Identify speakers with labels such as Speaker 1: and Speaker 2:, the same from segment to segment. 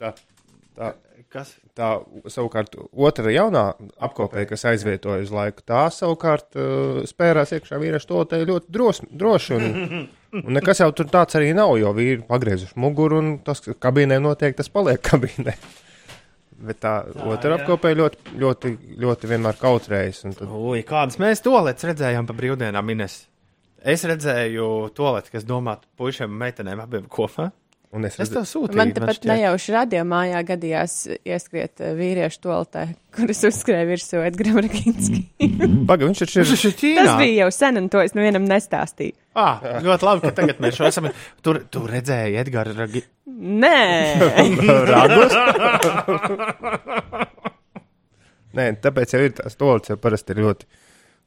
Speaker 1: Tā, tā,
Speaker 2: Kas?
Speaker 1: tā savukārt otra jaunā apkopēja, kas aizvietoja uz laiku, tā savukārt uh, spērās iekšā vīriešu tolotē ļoti dros, droši. Un, un nekas jau tur tāds arī nav, jo vīri pagriezuši muguru un tas kas kabīnē notiek, tas paliek kabīnē. Bet tā, tā otra
Speaker 2: jā.
Speaker 1: apkopēja ļoti, ļoti, ļoti vienmēr kautrējas. un Tad,
Speaker 2: Ui, kādas mēs toaletes redzējām pa brīvdienām, Ines? Es redzēju toaleti, kas domāta puišiem un meitenēm abiem kopā.
Speaker 1: un es
Speaker 2: Es
Speaker 1: redzu,
Speaker 2: tev sūtīju.
Speaker 3: Man tepat
Speaker 2: šķiet.
Speaker 3: nejauši radījumā gadījās ieskriet eh, vīriešu toaletē, kuras uzskrēja virsū Edgars
Speaker 1: Mm.
Speaker 3: Rakinski.
Speaker 1: Paga, viņš taču ir
Speaker 2: Tas ir Ķīnā.
Speaker 3: Tas bija jau sen, un to es nevienam nestāstīju.
Speaker 2: Ah, ļoti labi, ka tagad mēs šo esam. Tur, tu redzēji, Edgars, ragi...
Speaker 3: Nē,
Speaker 1: rādus. Nē, tāpēc jau ir tas stūlis, jau parasti ir ļoti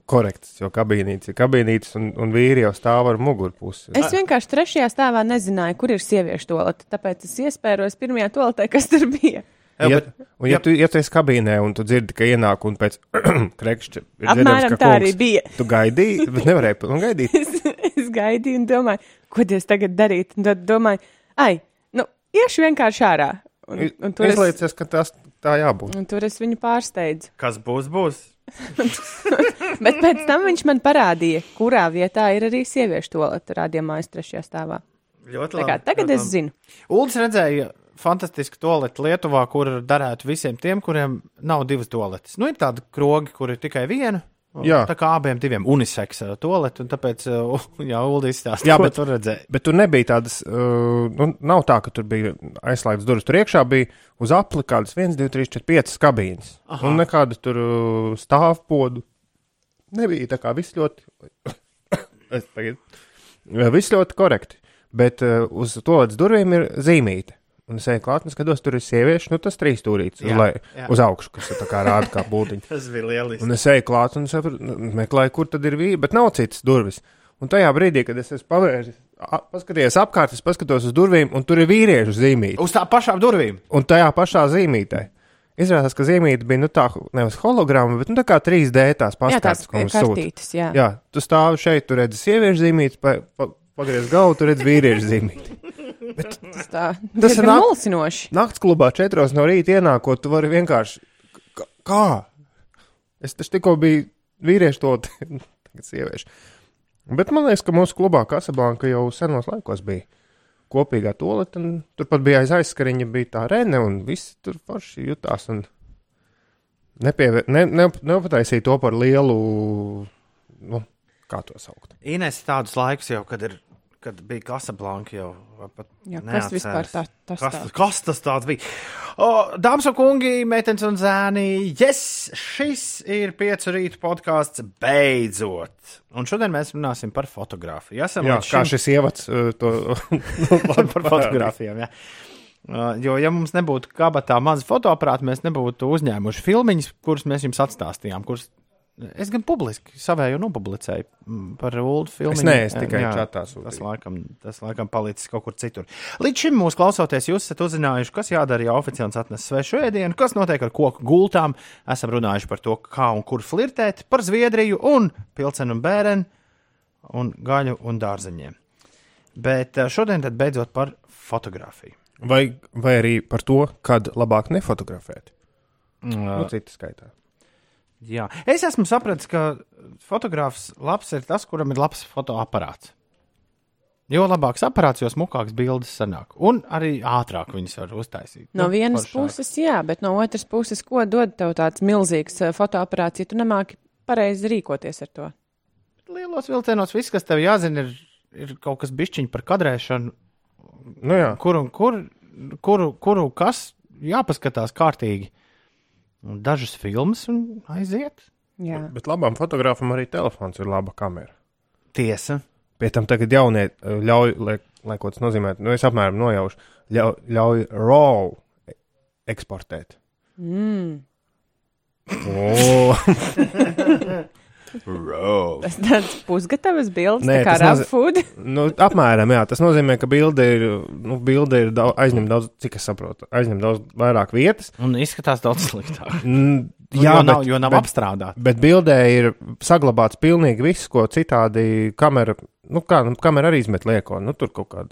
Speaker 1: korekts. Jo kabīnītis ir kabīnītis, un, un vīri jau stāv ar mugurpusi.
Speaker 3: es vienkārši trešajā stāvā nezināju, kur ir sieviešu toalete. Tāpēc es iespēros pirmajā toaletē, kas tur bija.
Speaker 1: Ja,
Speaker 2: bet-
Speaker 1: un, ja tu ja tu esi kabīnē un tu dzirdi, ka ienāk un pēc krekšķa ir
Speaker 3: Apmēram
Speaker 1: dzirdams, ka
Speaker 3: tā
Speaker 1: kungs-
Speaker 3: arī bija.
Speaker 1: Tu gaidīji, bet nevarēji pat- un gaidīt.
Speaker 3: es, es gaidīju un domāju, ko Dievs tagad darīt. Un tad domāju, ai, nu, iešu vienkārši ārā. Un, un, tur, es,
Speaker 1: Izlaicies, ka tas tā jābūt.
Speaker 3: un tur es viņu pārsteidzu.
Speaker 2: kas būs, būs.
Speaker 3: Bet pēc tam viņš man parādīja, kurā vietā ir arī sieviešu toalete rādījumā, es trešajā stāvā.
Speaker 2: Ļoti
Speaker 3: Tā
Speaker 2: labi.
Speaker 3: kā tagad
Speaker 2: ļoti
Speaker 3: es
Speaker 2: labi.
Speaker 3: zinu.
Speaker 2: Uldis redzēja fantastisku toaleti Lietuvā, kur darētu visiem tiem, kuriem nav divas toaletes. Nu, ir tādi krogi, kur ir tikai viena. un
Speaker 1: Jā.
Speaker 2: Tā kā abiem diviem uniseksa toaleti, un tāpēc, uh, jā, Uldis stāsta,
Speaker 1: Jā,
Speaker 2: ko
Speaker 1: bet-
Speaker 2: tu redzēji.
Speaker 1: Bet tur nebija tādas, uh, nu, nav tā, ka tur bija aizslēgts durvis. Tur iekšā bija uz apli kādas 1, 2, 3, 4, 5 kabīnes. Un nekādu tur uh, stāvpodu nebija. Tā kā viss ļoti. Es tagad. Viss ļoti korekti. Bet uh, uz to ledus durvīm ir zīmīte. Un es eju klāt, un skatos, tur ir sieviešu, nu tas trīs stūrītis uz,
Speaker 2: Jā,
Speaker 1: lai-
Speaker 2: jā.
Speaker 1: uz augšu, kas tā kā rāda kā būtiņa.
Speaker 2: Tas bija lieliski.
Speaker 1: Un es eju klāt un saprotu, nu, meklēju, kur tad ir vīri, bet nav citas durvis. Un tajā brīdī, kad es esmu pavērsis, a- paskatījies apkārt, es paskatos uz durvīm, un tur ir vīriešu zīmīte.
Speaker 2: Uz tā pašām durvīm.
Speaker 1: Un tajā pašā zīmītē. Izrādās, ka zīmīte bija nu, tā, nevis hologrāma, bet nu, tā kā 3D tās
Speaker 3: Jā, tās
Speaker 1: pastāvīgas, ko mums sūta.
Speaker 3: kartītes, jā. jā.
Speaker 1: Jā, tu stāvi šeit, tu redzi sieviešu zīmīti, pa, pa, pagriez galvu, tu redzi vīriešu zīmīti.
Speaker 3: Tā,
Speaker 1: Tas
Speaker 3: tas
Speaker 1: ir
Speaker 3: ir
Speaker 1: nāk-
Speaker 3: mulsinoši.
Speaker 1: Nakts klubā četros no rīta ienākot, tu vari vienkārši. k- Kā? Es taču tikko biju vīriešu to tagad sieviešu. Bet man liekas, ka mūsu klubā Kasablanka jau senos laikos bija kopīgā toleta, un turpat bija aiz aizskariņa, bija tā rene, un visi tur forši jutās. Un... Nepievēr, ne, ne, nepataisīja to par lielu, nu, kā to saukt.
Speaker 2: Ines tādus laikus jau, kad, ir, kad bija Kasablanka jau. vai pat
Speaker 3: Jā, kas vispār
Speaker 2: neatceras.
Speaker 3: tā, tas
Speaker 2: Kas,
Speaker 3: tā.
Speaker 2: kas tas tāds bija? O, dāmas un kungi, meitenes un zēni, yes, šis ir piecu rītu podkāsts beidzot. Un šodien mēs runāsim par fotografiju. Esam
Speaker 1: Jā,
Speaker 2: līdz
Speaker 1: kā
Speaker 2: šim-
Speaker 1: šis ievads uh, to labi
Speaker 2: par
Speaker 1: parādīja.
Speaker 2: fotografijām. Jā. Uh, Jo, ja mums nebūtu kabatā maza fotoaparāta, mēs nebūtu uzņēmuši filmiņas, kuras mēs jums atstāstījām. Kuras es gan publiski savēju nopublicēju mm, par Ulu filmu.
Speaker 1: Es nē, es tikai čatā sūtīju.
Speaker 2: Tas laikam, tas laikam palicis kaut kur citur. Līdz šim mūsu klausoties, jūs esat uzzinājuši, kas jādara, ja oficiāls atnes svešu ēdienu, kas notiek ar koku gultām. Esam runājuši par to, kā un kur flirtēt, par Zviedriju un Pilsenu un Bērenu un gaļu un dārzeņiem. Bet eh, šodien tad beidzot par fotografiju.
Speaker 1: Vai, vai arī par to, kad labāk nefotografēt. Nu, Citi skaitā.
Speaker 2: Jā. Es esmu sapratis, ka fotogrāfs labs ir tas, kuram ir labs fotoaparāts. Jo labāks aparāts, jo smukāks bildes sanāk. Un arī ātrāk viņas var uztaisīt.
Speaker 3: No
Speaker 2: Nu,
Speaker 3: vienas
Speaker 2: foršāk.
Speaker 3: puses, jā, bet no otras puses, ko dod tev tāds milzīgs eh, fotoaparāts, ja tu nemāki pareizi rīkoties ar to?
Speaker 2: Lielos vilcienos viss, kas tev jāzina, ir, ir kaut kas bišķiņš par kadrēšanu,
Speaker 1: Nu, jā,
Speaker 2: kur un kur, kuru, kuru kas jāpaskatās kārtīgi. Un dažas filmas un aiziet.
Speaker 3: Jā.
Speaker 1: bet labam fotogrāfam arī telefons ir laba kamera.
Speaker 2: Tiesa.
Speaker 1: Pie tam tagad jaunie eh, ļauj, lai, lai ko tas nozīmē, nu es apmēram nojaušu, ļauj, ļauj RAW e- eksportēt. Mm.
Speaker 3: Tas tāds pusgatavs bildes,
Speaker 1: Nē,
Speaker 3: Nē, kā
Speaker 1: tas
Speaker 3: rabu
Speaker 1: nozi-
Speaker 3: food.
Speaker 1: nu, apmēram, jā, tas nozīmē, ka bilde ir, nu, bilde ir daudz, aizņem daudz, cik es saprotu, aizņem daudz vairāk vietas.
Speaker 2: Un izskatās daudz sliktāk.
Speaker 1: Mm,
Speaker 2: Jā, Nu, jo nav,
Speaker 1: bet-
Speaker 2: jo nav
Speaker 1: bet-
Speaker 2: apstrādāta.
Speaker 1: Bet bildē ir saglabāts pilnīgi viss, ko citādi kamera, nu, kā, nu, kamera arī izmet lieko, nu, tur kaut kādu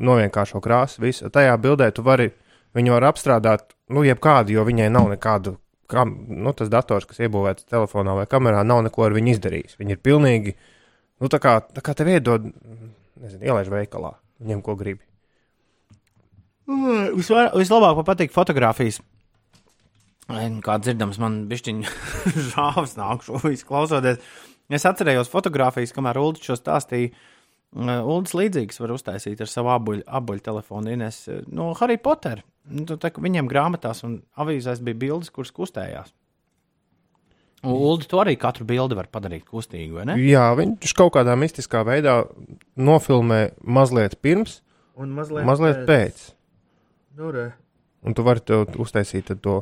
Speaker 1: novienkāršo krāsu, visu. Tajā bildē tu vari Viņa var apstrādāt, nu, jebkādu, jo viņai nav nekādu, kam, nu, tas dators, kas iebūvēts telefonā vai kamerā, nav neko ar viņu izdarījis. Viņa ir pilnīgi, nu, tā kā, tā kā tev iedod, nezinu, ielaiž veikalā, ņem ko gribi.
Speaker 2: Mm, visvar- Vislabāk man patīk fotografijas. Ai, nu, Kā dzirdams, man bišķiņa žāvis nāk šo visu klausoties. Es atcerējos fotografijas, kamēr Ulrichs šo stāstīja. Ulrichs līdzīgs var uztaisīt ar savu abuļu, abuļu telefonu. Ines, eh, no Harry Potter. Nu, tu tā kā Viņiem grāmatās un avīzēs bija bildes, kuras kustējās. Ulrichs to arī katru bildi var padarīt kustīgu, vai ne?
Speaker 1: Jā, viņš kaut kādā mistiskā veidā nofilmē mazliet pirms,
Speaker 2: Un mazliet, eh,
Speaker 1: mazliet pēc.
Speaker 2: Nu, re.
Speaker 1: Un tu vari to uztaisīt tad to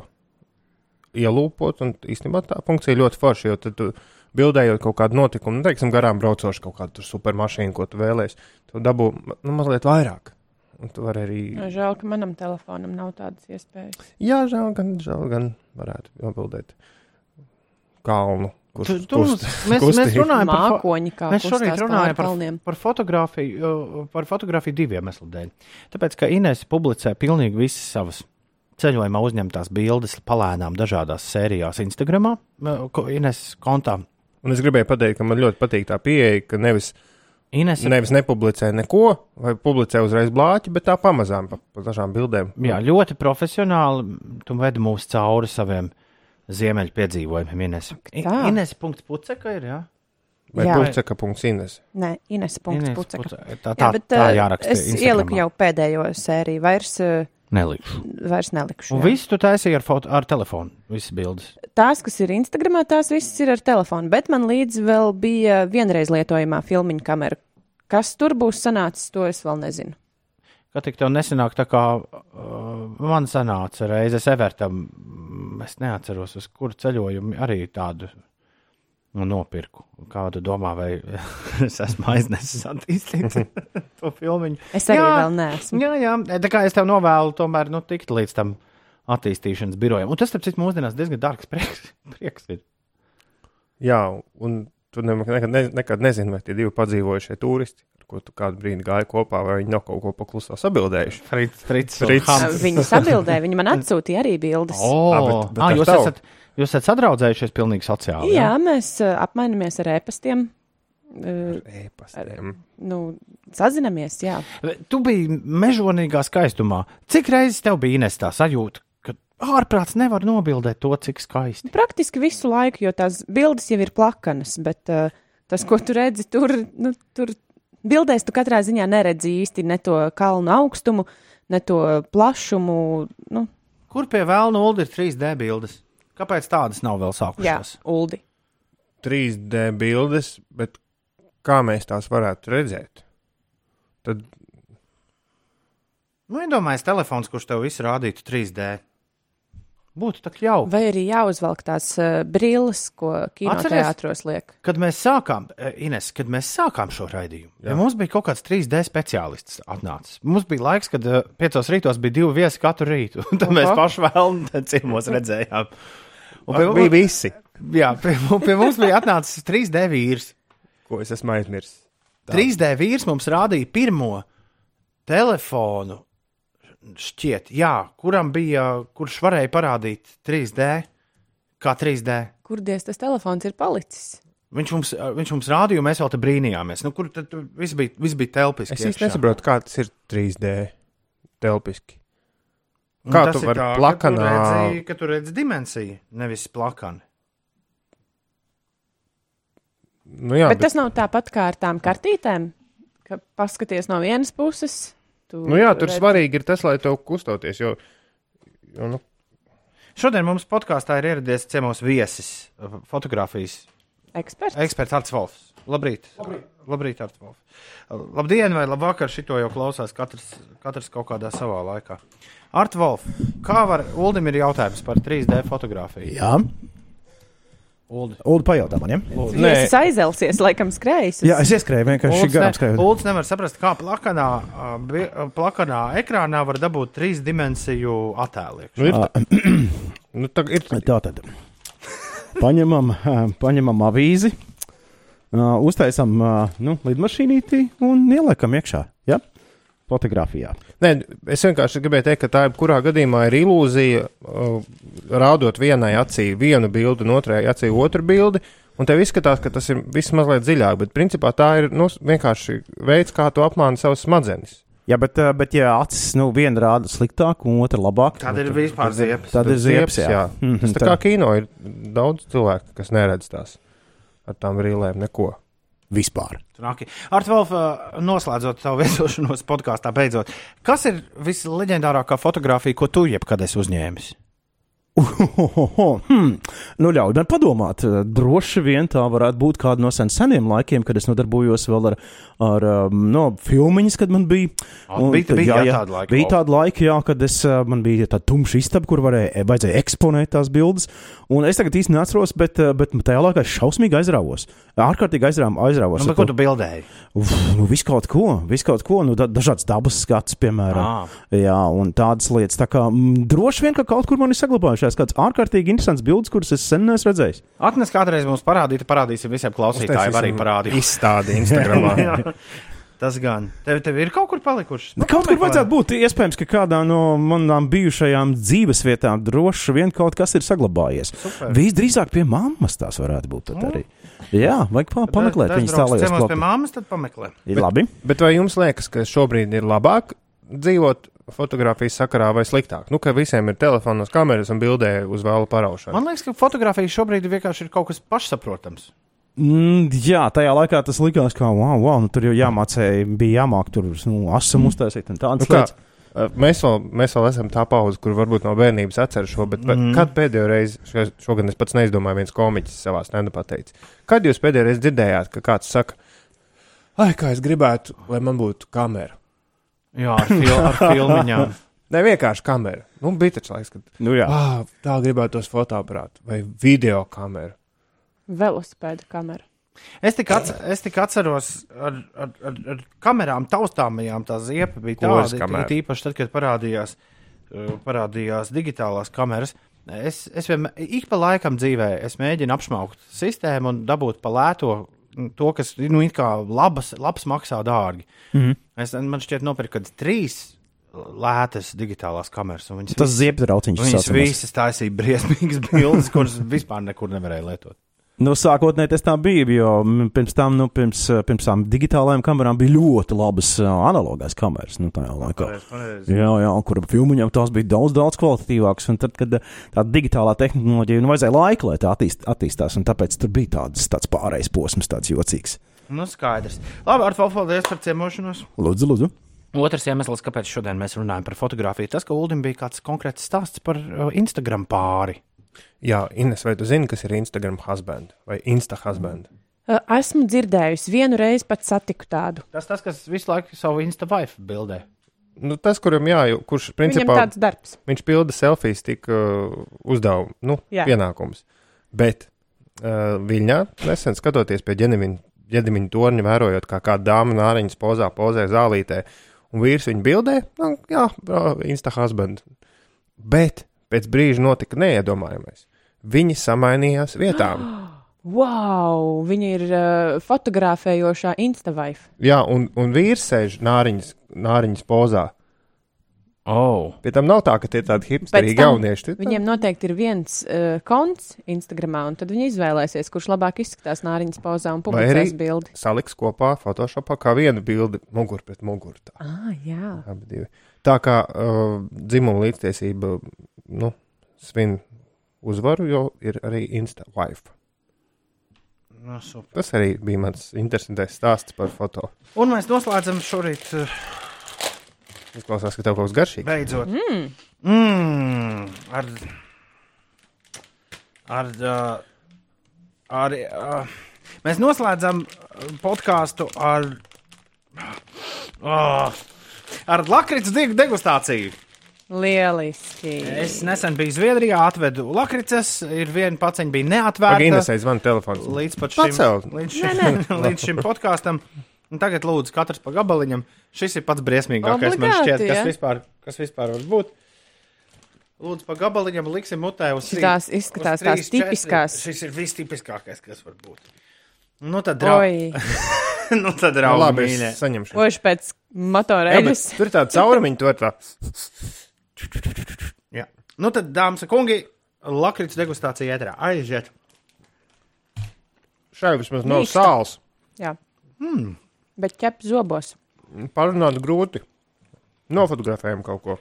Speaker 1: ielūpot. Un īstenībā tā funkcija ļoti forša, jo tad tu bildējot kaut kādu notikumu, nu, teiksim, garām braucošu kaut kādu tur supermašīnu, ko tu vēlēsies, tu dabū nu, mazliet vairāk. Un tu vari arī.
Speaker 3: Nu, Žēl, ka manam telefonam nav tādas iespējas.
Speaker 1: Jā, žēl, gan, žēl, gan varētu atbildēt kalnu. Kurš
Speaker 2: Tu- tu- mēs- mēs
Speaker 1: kustīgi.
Speaker 2: runājam par fo-
Speaker 3: Mākoņi kā
Speaker 2: Mēs šorīt
Speaker 3: kustās pāri
Speaker 2: runājam par,
Speaker 3: kalniem.
Speaker 2: par fotografiju, jo- par fotografiju diviem iemesliem. Tāpēc, ka Inês publicē pilnīgi visas savas ceļojumā uzņemtās bildes, palēnām dažādās sērijās Instagram, Inês kontā.
Speaker 1: Un es gribēju pateikt, ka man ļoti patīk tā pieeja, ka nevis,
Speaker 2: Ines,
Speaker 1: nevis nepublicē neko, vai publicē uzreiz blāķi, bet tā pamazām pa, pa dažām bildēm.
Speaker 2: jā, ļoti profesionāli tu vedi mūs cauri saviem ziemeļu piedzīvojumiem, Ines.
Speaker 3: tā.
Speaker 2: Ines, punkts puceka ir, jā?
Speaker 1: Vai
Speaker 3: Jā.
Speaker 1: pulceka punkts Ines.
Speaker 3: Nē, Ines. punkts
Speaker 2: Ines
Speaker 3: Puceka.
Speaker 2: Puceka. Tā, tā,
Speaker 3: Jā, bet,
Speaker 2: tā
Speaker 3: eh,
Speaker 2: jāraksta.
Speaker 3: Es ieliku
Speaker 2: Instagramā.
Speaker 3: jau pēdējo sēriju, vairs, eh,
Speaker 2: Nelikšu.
Speaker 3: vairs nelikšu.
Speaker 2: Un
Speaker 3: jā.
Speaker 2: viss tu taisīji ar, foto- ar telefonu, visas bildes.
Speaker 3: Tās, kas ir Instagramā, tās visas ir ar telefonu, bet man līdzi vēl bija vienreiz lietojamā filmiņa kamera. Kas tur būs sanācis, to es vēl nezinu.
Speaker 2: Kā tik tev nesanāk, tā kā uh, man sanāca reizes Evertam, mm, es neatceros, uz kuru ceļojumu arī tādu nu, nopirku. Kādu domā, vai es esmu aiznesis attīstīt to filmu?
Speaker 3: Es arī jā. vēl neesmu.
Speaker 2: Jā, jā, tā kā es tev novēlu tomēr nu, tikt līdz tam attīstīšanas birojam. Un tas, starp citu, mūsdienās diezgan dārgs prieks, prieks ir.
Speaker 1: Jā, un tu ne- nekad, ne- nekad nezini, vai tie divi padzīvojušie turisti, ar ko tu kādu brīdi gāji kopā, vai viņi nav kaut ko paklusā sabildējuši.
Speaker 2: Frits, Frits,
Speaker 1: Frits.
Speaker 2: Hams.
Speaker 3: Viņas atbildēja, viņa man atsūtīja arī bildes.
Speaker 2: Oh,
Speaker 1: Ah, bet- bet
Speaker 2: ah,
Speaker 1: ar
Speaker 2: jūs,
Speaker 1: tavu?
Speaker 2: esat, jūs esat sadraudzējušies pilnīgi sociāli.
Speaker 3: jā, mēs eh, apmainamies ar ēpastiem. eh,
Speaker 1: Ēpastiem.
Speaker 3: Nu, sazinamies, jā.
Speaker 2: Tu biji mežonīgā skaistumā. Cik reizes tev bija Ines tā sajūta, ka ārprāts nevar nobildēt to, cik skaisti?
Speaker 3: Praktiski visu laiku, jo tās bildes jau ir plakanas, bet eh, tas, ko tu redzi, tur, nu, tur bildēs tu katrā ziņā neredzi īsti ne to kalnu augstumu, ne to plašumu. Nu,
Speaker 2: Kur pie vēlna ULD ir 3D bildes? Kāpēc tādas nav vēl
Speaker 3: jā,
Speaker 2: sākušās?
Speaker 3: Uldi.
Speaker 1: 3D bildes, bet kā mēs tās varētu redzēt? Tad
Speaker 2: Nu, iedomājieties, telefons, kurš tev visu rādītu 3D. Būtu tā jau.
Speaker 3: Vai arī jāuzvelk tās uh, brilles, ko kinoteātros liek?
Speaker 2: Kad mēs sākām, eh, Ines, kad mēs sākām šo raidījumu, ja mums bija kaut kāds 3D speciālists atnācis. Mums bija laiks, kad eh, piecos rītos bija divi viesi katru rītu, un tad mēs
Speaker 3: Aha.
Speaker 2: paši vēlamies ciemos redzējām. Un pie-
Speaker 1: bija visi,
Speaker 2: Jā, pie, mu- pie mums bija atnācis 3D vīrs.
Speaker 1: ko es esmu aizmirsis.
Speaker 2: 3D vīrs mums rādīja pirmo telefonu, šķiet, jā, kuram bija, kurš varēja parādīt 3D, kā 3D.
Speaker 3: Kur diez tas telefons ir palicis?
Speaker 2: Viņš mums, viņš mums rādīja, un mēs vēl te brīnījāmies. Nu, kur tad tur viss bija, viss bija telpiski?
Speaker 1: Es īsti
Speaker 2: iekšā.
Speaker 1: nesaprotu, kā tas ir 3D telpiski.
Speaker 2: Un
Speaker 1: kā
Speaker 2: tas
Speaker 1: tu
Speaker 2: ir
Speaker 1: vari
Speaker 2: tā, ka
Speaker 1: plakanā-
Speaker 2: tu redzi- Ka tu redzi dimensiju, nevis plakani.
Speaker 1: Nu, jā,
Speaker 3: Bet tas nav tāpat kā ar tām kartītēm, ka paskaties no vienas puses. Tu
Speaker 1: nu, jā, tur
Speaker 3: redzi-
Speaker 1: svarīgi ir tas, lai tev kustoties. Jo, jo, nu,
Speaker 2: Šodien mums podkāstā ir ieradies ciemos viesis, fotografijas
Speaker 3: Eksperts.
Speaker 2: Eksperts Arts Volfs. Labrīt. Labrīt, Labrīt Arts Volfs. Labdien, vai labvakar. Šito jau klausās katrs, katrs kaut kādā savā laikā. Arts Volfs, kā var, Uldim ir jautājums par 3D fotografiju?
Speaker 4: Jā,
Speaker 2: Uldi.
Speaker 4: Ulu pajautā man. Ja?
Speaker 3: Nē. Es aizelsies, laikam, skrējis.
Speaker 4: Jā, es ieskrēju, vienkārši
Speaker 2: Ulds,
Speaker 4: garām
Speaker 2: ne,
Speaker 4: skrēju.
Speaker 2: Ulds nevar saprast, kā plakanā, ā, bi- plakanā ekrānā var dabūt trīs dimensiju attēlu.
Speaker 1: nu, ir, tā, nu, tā, ir,
Speaker 4: Tā tad paņemam, eh, paņemam avīzi, eh, uztaisām eh, nu, lidmašīnīti un ieliekam iekšā. Ja? fotografijā.
Speaker 1: Nē, es vienkārši gribēju teikt, ka tā jebkurā gadījumā ir ilūzija, uh, rādot vienai acī vienu bildi, un otrai acī otru bildi. Un tev izskatās, ka tas ir viss mazliet dziļāk, bet principā tā ir nu, vienkārši veids, kā tu apmāni savas smadzenes.
Speaker 4: Jā, bet, ā, bet ja acis nu, viena rāda sliktāk, un otra labāk,
Speaker 2: Tad ir vispār ziepes.
Speaker 4: tad ir ziepes. Jā. Mhm,
Speaker 1: Tas tā kā kino ir daudz cilvēku, kas neredz tās ar tām rīlēm neko.
Speaker 4: vispār.
Speaker 2: Ar to noslēdzot savu viesošanos podkāstā, beidzot, kas ir visleģendārākā fotografija, ko tu jebkad esi uzņēmis?
Speaker 4: Ohoho, Hmm. Nu, ļauj man padomāt. eh, Droši vien tā varētu būt kāda no sen seniem laikiem, kad es nodarbojos vēl ar, ar um, no, filmiņas, kad man bija.
Speaker 2: Ah, bija- bija, jā, tāda laika,
Speaker 4: bija
Speaker 2: vau.
Speaker 4: tāda laika, jā, kad es, uh, man bija tāda tumša istaba, kur varēja, eh, vajadzēja eksponēt tās bildes. Un es tagad īsti neatceros, bet, uh, bet tajā laikā es šausmīgi aizrāvos. Ārkārtīgi aizrām, aizrāvos.
Speaker 2: Nu,
Speaker 4: ar
Speaker 2: bet ko tu bildēji?
Speaker 4: Uf, nu, visu kaut ko, visu kaut ko, nu, da, dažādas dabas skats, piemēram.
Speaker 2: Ā.
Speaker 4: Jā, un tādas lietas. Tā kā mm, droši vien, ka kaut kur man ir saglabājušās kāds ārkārtīgi interesants bildes, kuras es sen neesmu redzējis.
Speaker 2: Atnes kādreiz mums parādīt, parādīsim visiem klausītājiem, arī parādīt.
Speaker 1: Izstādi Instagramā.
Speaker 2: Jā, Tas gan. Tev, tev ir kaut kur palikušas.
Speaker 4: Nu, kaut kur vajadzētu būt. Iespējams, ka kādā no manām bijušajām dzīvesvietām droši vien kaut kas ir saglabājies. Super. Visdrīzāk pie mammas tās varētu būt tad arī. Jā, vajag pa, pameklēt viņas tālākajos
Speaker 2: Cemos pie
Speaker 4: klopiem.
Speaker 2: māmas, tad pameklē.
Speaker 4: Ir Labi.
Speaker 1: Bet vai jums liekas, ka šobrīd ir labāk dzīvot fotografijas sakarā vai sliktāk? Nu, ka visiem ir telefonos kameras un bildē uz vēlu paraušanu.
Speaker 2: Man liekas, ka fotografija šobrīd vienkārši ir kaut kas pašsaprotams.
Speaker 4: Mm, jā, tajā laikā tas likās, ka wow, wow, nu, tur jau jāmācīja, bija jāmāk tur nu, asam uztaisīt un tādas
Speaker 1: Nu, kā,
Speaker 4: lietas.
Speaker 1: eh, mēs, vēl, mēs vēl esam tā pauze, kur varbūt no bērnības atceros šo, bet mm. kad pēdējo reizi, šo- šogad es pats neizdomāju, viens komiķis savā standā pateica, kad jūs pēdējo reizi dzirdējāt, ka kāds saka, ah, kā es gribētu, lai man būtu kamera.
Speaker 2: Jā, ar, fil ar filmiņām.
Speaker 1: Ne vienkārši kamera. Nu, bija taču laiks, kad
Speaker 4: Nu, jā.
Speaker 1: ah, tā gribētu tos fotoaparātu vai video kameru.
Speaker 3: Velospēda kamera.
Speaker 2: Es tik, atce, es tik atceros, ar, ar, ar, ar kamerām taustāmajām tā ziepa bija
Speaker 1: Kuras
Speaker 2: tāda.
Speaker 1: kamera?
Speaker 2: Kamera. Tīpaši tad, kad parādījās, uh, parādījās digitālās kameras. Es, es vienmēr, ik pa laikam dzīvē, es mēģinu apšaukt sistēmu un dabūt pa lēto mm, to, kas, nu, it kā labas, labs maksā dārgi. Mm -hmm. es, man šķiet, nopirku kad trīs lētas digitālās kameras. un Viņas
Speaker 4: Tas ziepes rauciņš.
Speaker 2: Viņas
Speaker 4: saucamais.
Speaker 2: visas taisīja briesmīgas bildes, kuras vispār nekur nevarēja lietot.
Speaker 4: Nu, sākotnēji tas tā bija, jo mm, pirms tam, nu, pirms, eh, pirms tam digitālajām kamerām bija ļoti labas eh, analogās kameras. Nu, tajā laikā. Jā, jā, un kur filmuņam tās bija daudz, daudz kvalitatīvākas. Un tad, kad eh, tā digitālā tehnoloģija, nu, vajadzēja laiku, lai tā attīst, attīstās, un tāpēc tur bija tāds, tāds pārējais posms, tāds jocīgs.
Speaker 2: Nu, skaidrs. Labi, ar to paldies par ciemošanos.
Speaker 4: Lūdzu, lūdzu.
Speaker 2: Otrs iemesls, kāpēc šodien mēs runājam par fotografiju, tas, ka Ulim bija kāds konkrēts stāsts par uh, Instagram pāri.
Speaker 1: Jā, Ines, vai tu zini, kas ir Instagram husband vai Insta husband?
Speaker 3: Uh, Esmu dzirdējusi, vienu reizi pat satiku tādu.
Speaker 2: Tas tas, kas visu laiku savu Instagram bildē.
Speaker 1: Nu, tas, kuram jā, jo- kurš
Speaker 3: Viņam
Speaker 1: principā
Speaker 3: tāds darbs.
Speaker 1: viņš pilda selfijas, tik uh, uzdevuma, nu,
Speaker 3: Jā.
Speaker 1: pienākums. Bet uh, Viņā nesen skatoties pie ģenēmiņa torņa, vērojot, kā kāda dāma nāriņas pozā, pozē zālītē, un vīrs viņu bildē, nu, jā, insta husband. Bet pēc brīža notika neiedomājamais. Viņi samainījās vietām.
Speaker 3: Wow! Viņa ir uh, fotografējošā Instavife.
Speaker 1: Jā, un, un vīrs sēž nāriņas, nāriņas pozā.
Speaker 2: Oh.
Speaker 1: Pie tam nav tā, ka tie ir tādi hipsteri,
Speaker 3: tam
Speaker 1: jaunieši. tie tā-
Speaker 3: Viņiem noteikti ir viens uh, konts Instagramā, un tad viņi izvēlēsies, kurš labāk izskatās nāriņas pozā un
Speaker 1: Vai
Speaker 3: publicēs bildi.
Speaker 1: saliks kopā Photoshopā kā vienu bildi, muguru pret muguru. Tā,
Speaker 3: Ah, jā.
Speaker 1: abi divi. tā kā uh, dzimuma līdztiesība nu, svin uzvaru, jo ir arī Insta Life.
Speaker 2: Nu, super.
Speaker 1: Tas arī bija mans interesants stāsts par foto.
Speaker 2: un mēs noslēdzam šorīt uh,
Speaker 1: Izklausās, ka tev kaut kas garšīgs.
Speaker 2: beidzot mm. Mm, ar. ar, uh, ar uh, mēs noslēdzam uh, podkāstu ar. Uh, ar lakrits deg- degustāciju.
Speaker 3: Lieliski!
Speaker 2: Es nesen biju Zviedrijā, atvedu lakrits, ir viena paciņa bija neatvērta.
Speaker 1: Pagaidies, aizvan telefons.
Speaker 2: Līdz pat šim,
Speaker 1: Pacel.
Speaker 2: līdz šim, līdz šim podkāstam. Un Tagad, lūdzu, katrs pa gabaliņam. Šis ir pats briesmīgākais, man
Speaker 3: Obligāti,
Speaker 2: šķiet, kas,
Speaker 3: ja?
Speaker 2: vispār, kas vispār var būt. Lūdzu, pa gabaliņam liksim mutē uz sīk-
Speaker 3: Tās izskatās
Speaker 2: uz trīs,
Speaker 3: tās tipiskās.
Speaker 2: Četri. Šis ir vistipiskākais, kas var būt. Nu tad, draugi,
Speaker 3: Oi,
Speaker 2: nu, tad
Speaker 1: Nu,
Speaker 2: raudā
Speaker 1: labi,
Speaker 2: mīļā.
Speaker 1: es saņemšu.
Speaker 3: Oši pēc motora
Speaker 1: Jā, bet
Speaker 3: eļas.
Speaker 1: Tur ir tāda caurumiņa, to tā.
Speaker 2: Jā. Nu tad, dāmas un kungi, lakrits degustācija ētrā. Aiziet!
Speaker 1: Šai vismaz nav
Speaker 3: Mīksta.
Speaker 1: sāls.
Speaker 3: Jā.
Speaker 1: Hmm.
Speaker 3: Bet ķep zobos.
Speaker 1: Parunāt grūti. Nofotografējam kaut ko.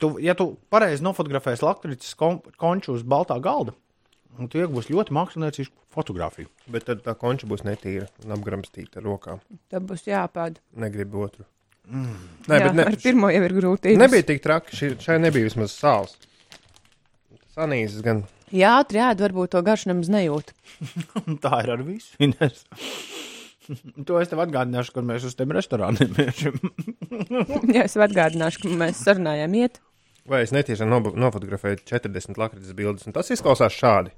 Speaker 2: Tu, ja tu pareizi nofotografēsi lakrits kon konču uz baltā galda, nu, tu iegūsi ļoti māksliniecisku fotografiju.
Speaker 1: Bet tad tā konča būs netīra un apgramstīta ar rokām.
Speaker 3: Tad būs jāpāda.
Speaker 1: Negribu otru. Mm. Nē,
Speaker 3: Jā,
Speaker 1: bet ne,
Speaker 3: ar pirmo jau ir grūti.
Speaker 1: nebija tik traki. Šī, šai nebija vismaz sāls. Tas anīzes gan.
Speaker 3: Jā, ātri ēd, varbūt to garšu nemaz nejūt.
Speaker 2: Un tā ir ar visu. Ines. to es tev atgādināšu, kad mēs uz tiem restorāniem iesim.
Speaker 3: Jā, es atgādināšu, ka mēs sarunājām iet.
Speaker 1: Vai es netieši nob- nofotografēju 40 lakritas bildes, un tas izklausās šādi.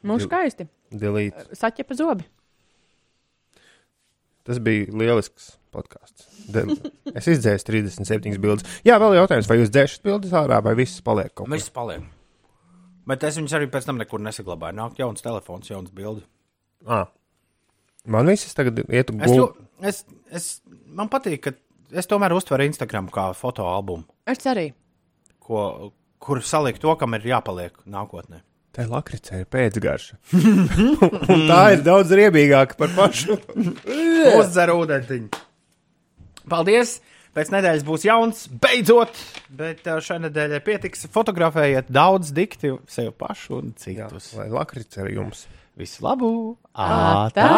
Speaker 3: Nu, skaisti.
Speaker 1: Delete.
Speaker 3: Saķepa zobi.
Speaker 1: Tas bija lielisks podkāsts. Es izdzēsu 37 bildes. Jā, vēl jautājums, vai jūs dzēšat bildes ārā, vai viss paliek kaut kas
Speaker 2: Mēs paliekam. Bet es viņus arī pēc tam nekur nesaglabāju. Nāk jauns telefons, jauns bildi.
Speaker 1: tāds? Man viss tagad iet uz
Speaker 2: Es,
Speaker 1: gultu.
Speaker 2: ļo- es, es, man patīk, ka es tomēr uztveru Instagram kā fotoalbumu,
Speaker 3: Es arī.
Speaker 2: ko, kur salikt to, kam ir jāpaliek nākotnē.
Speaker 1: Tā ir lakrits, ir pēcgarša. Un tā ir daudz riebīgāka par pašu.
Speaker 2: Uzdzer ūdentiņu. Paldies! Pēc nedēļas būs jauns, beidzot! Bet ā, šai nedēļai pietiks. Fotografējiet daudz dikti sev pašu un
Speaker 1: Jā,
Speaker 2: citus. Jā.
Speaker 1: lai lakrits ir jums.
Speaker 2: Visu labu!
Speaker 3: Tā!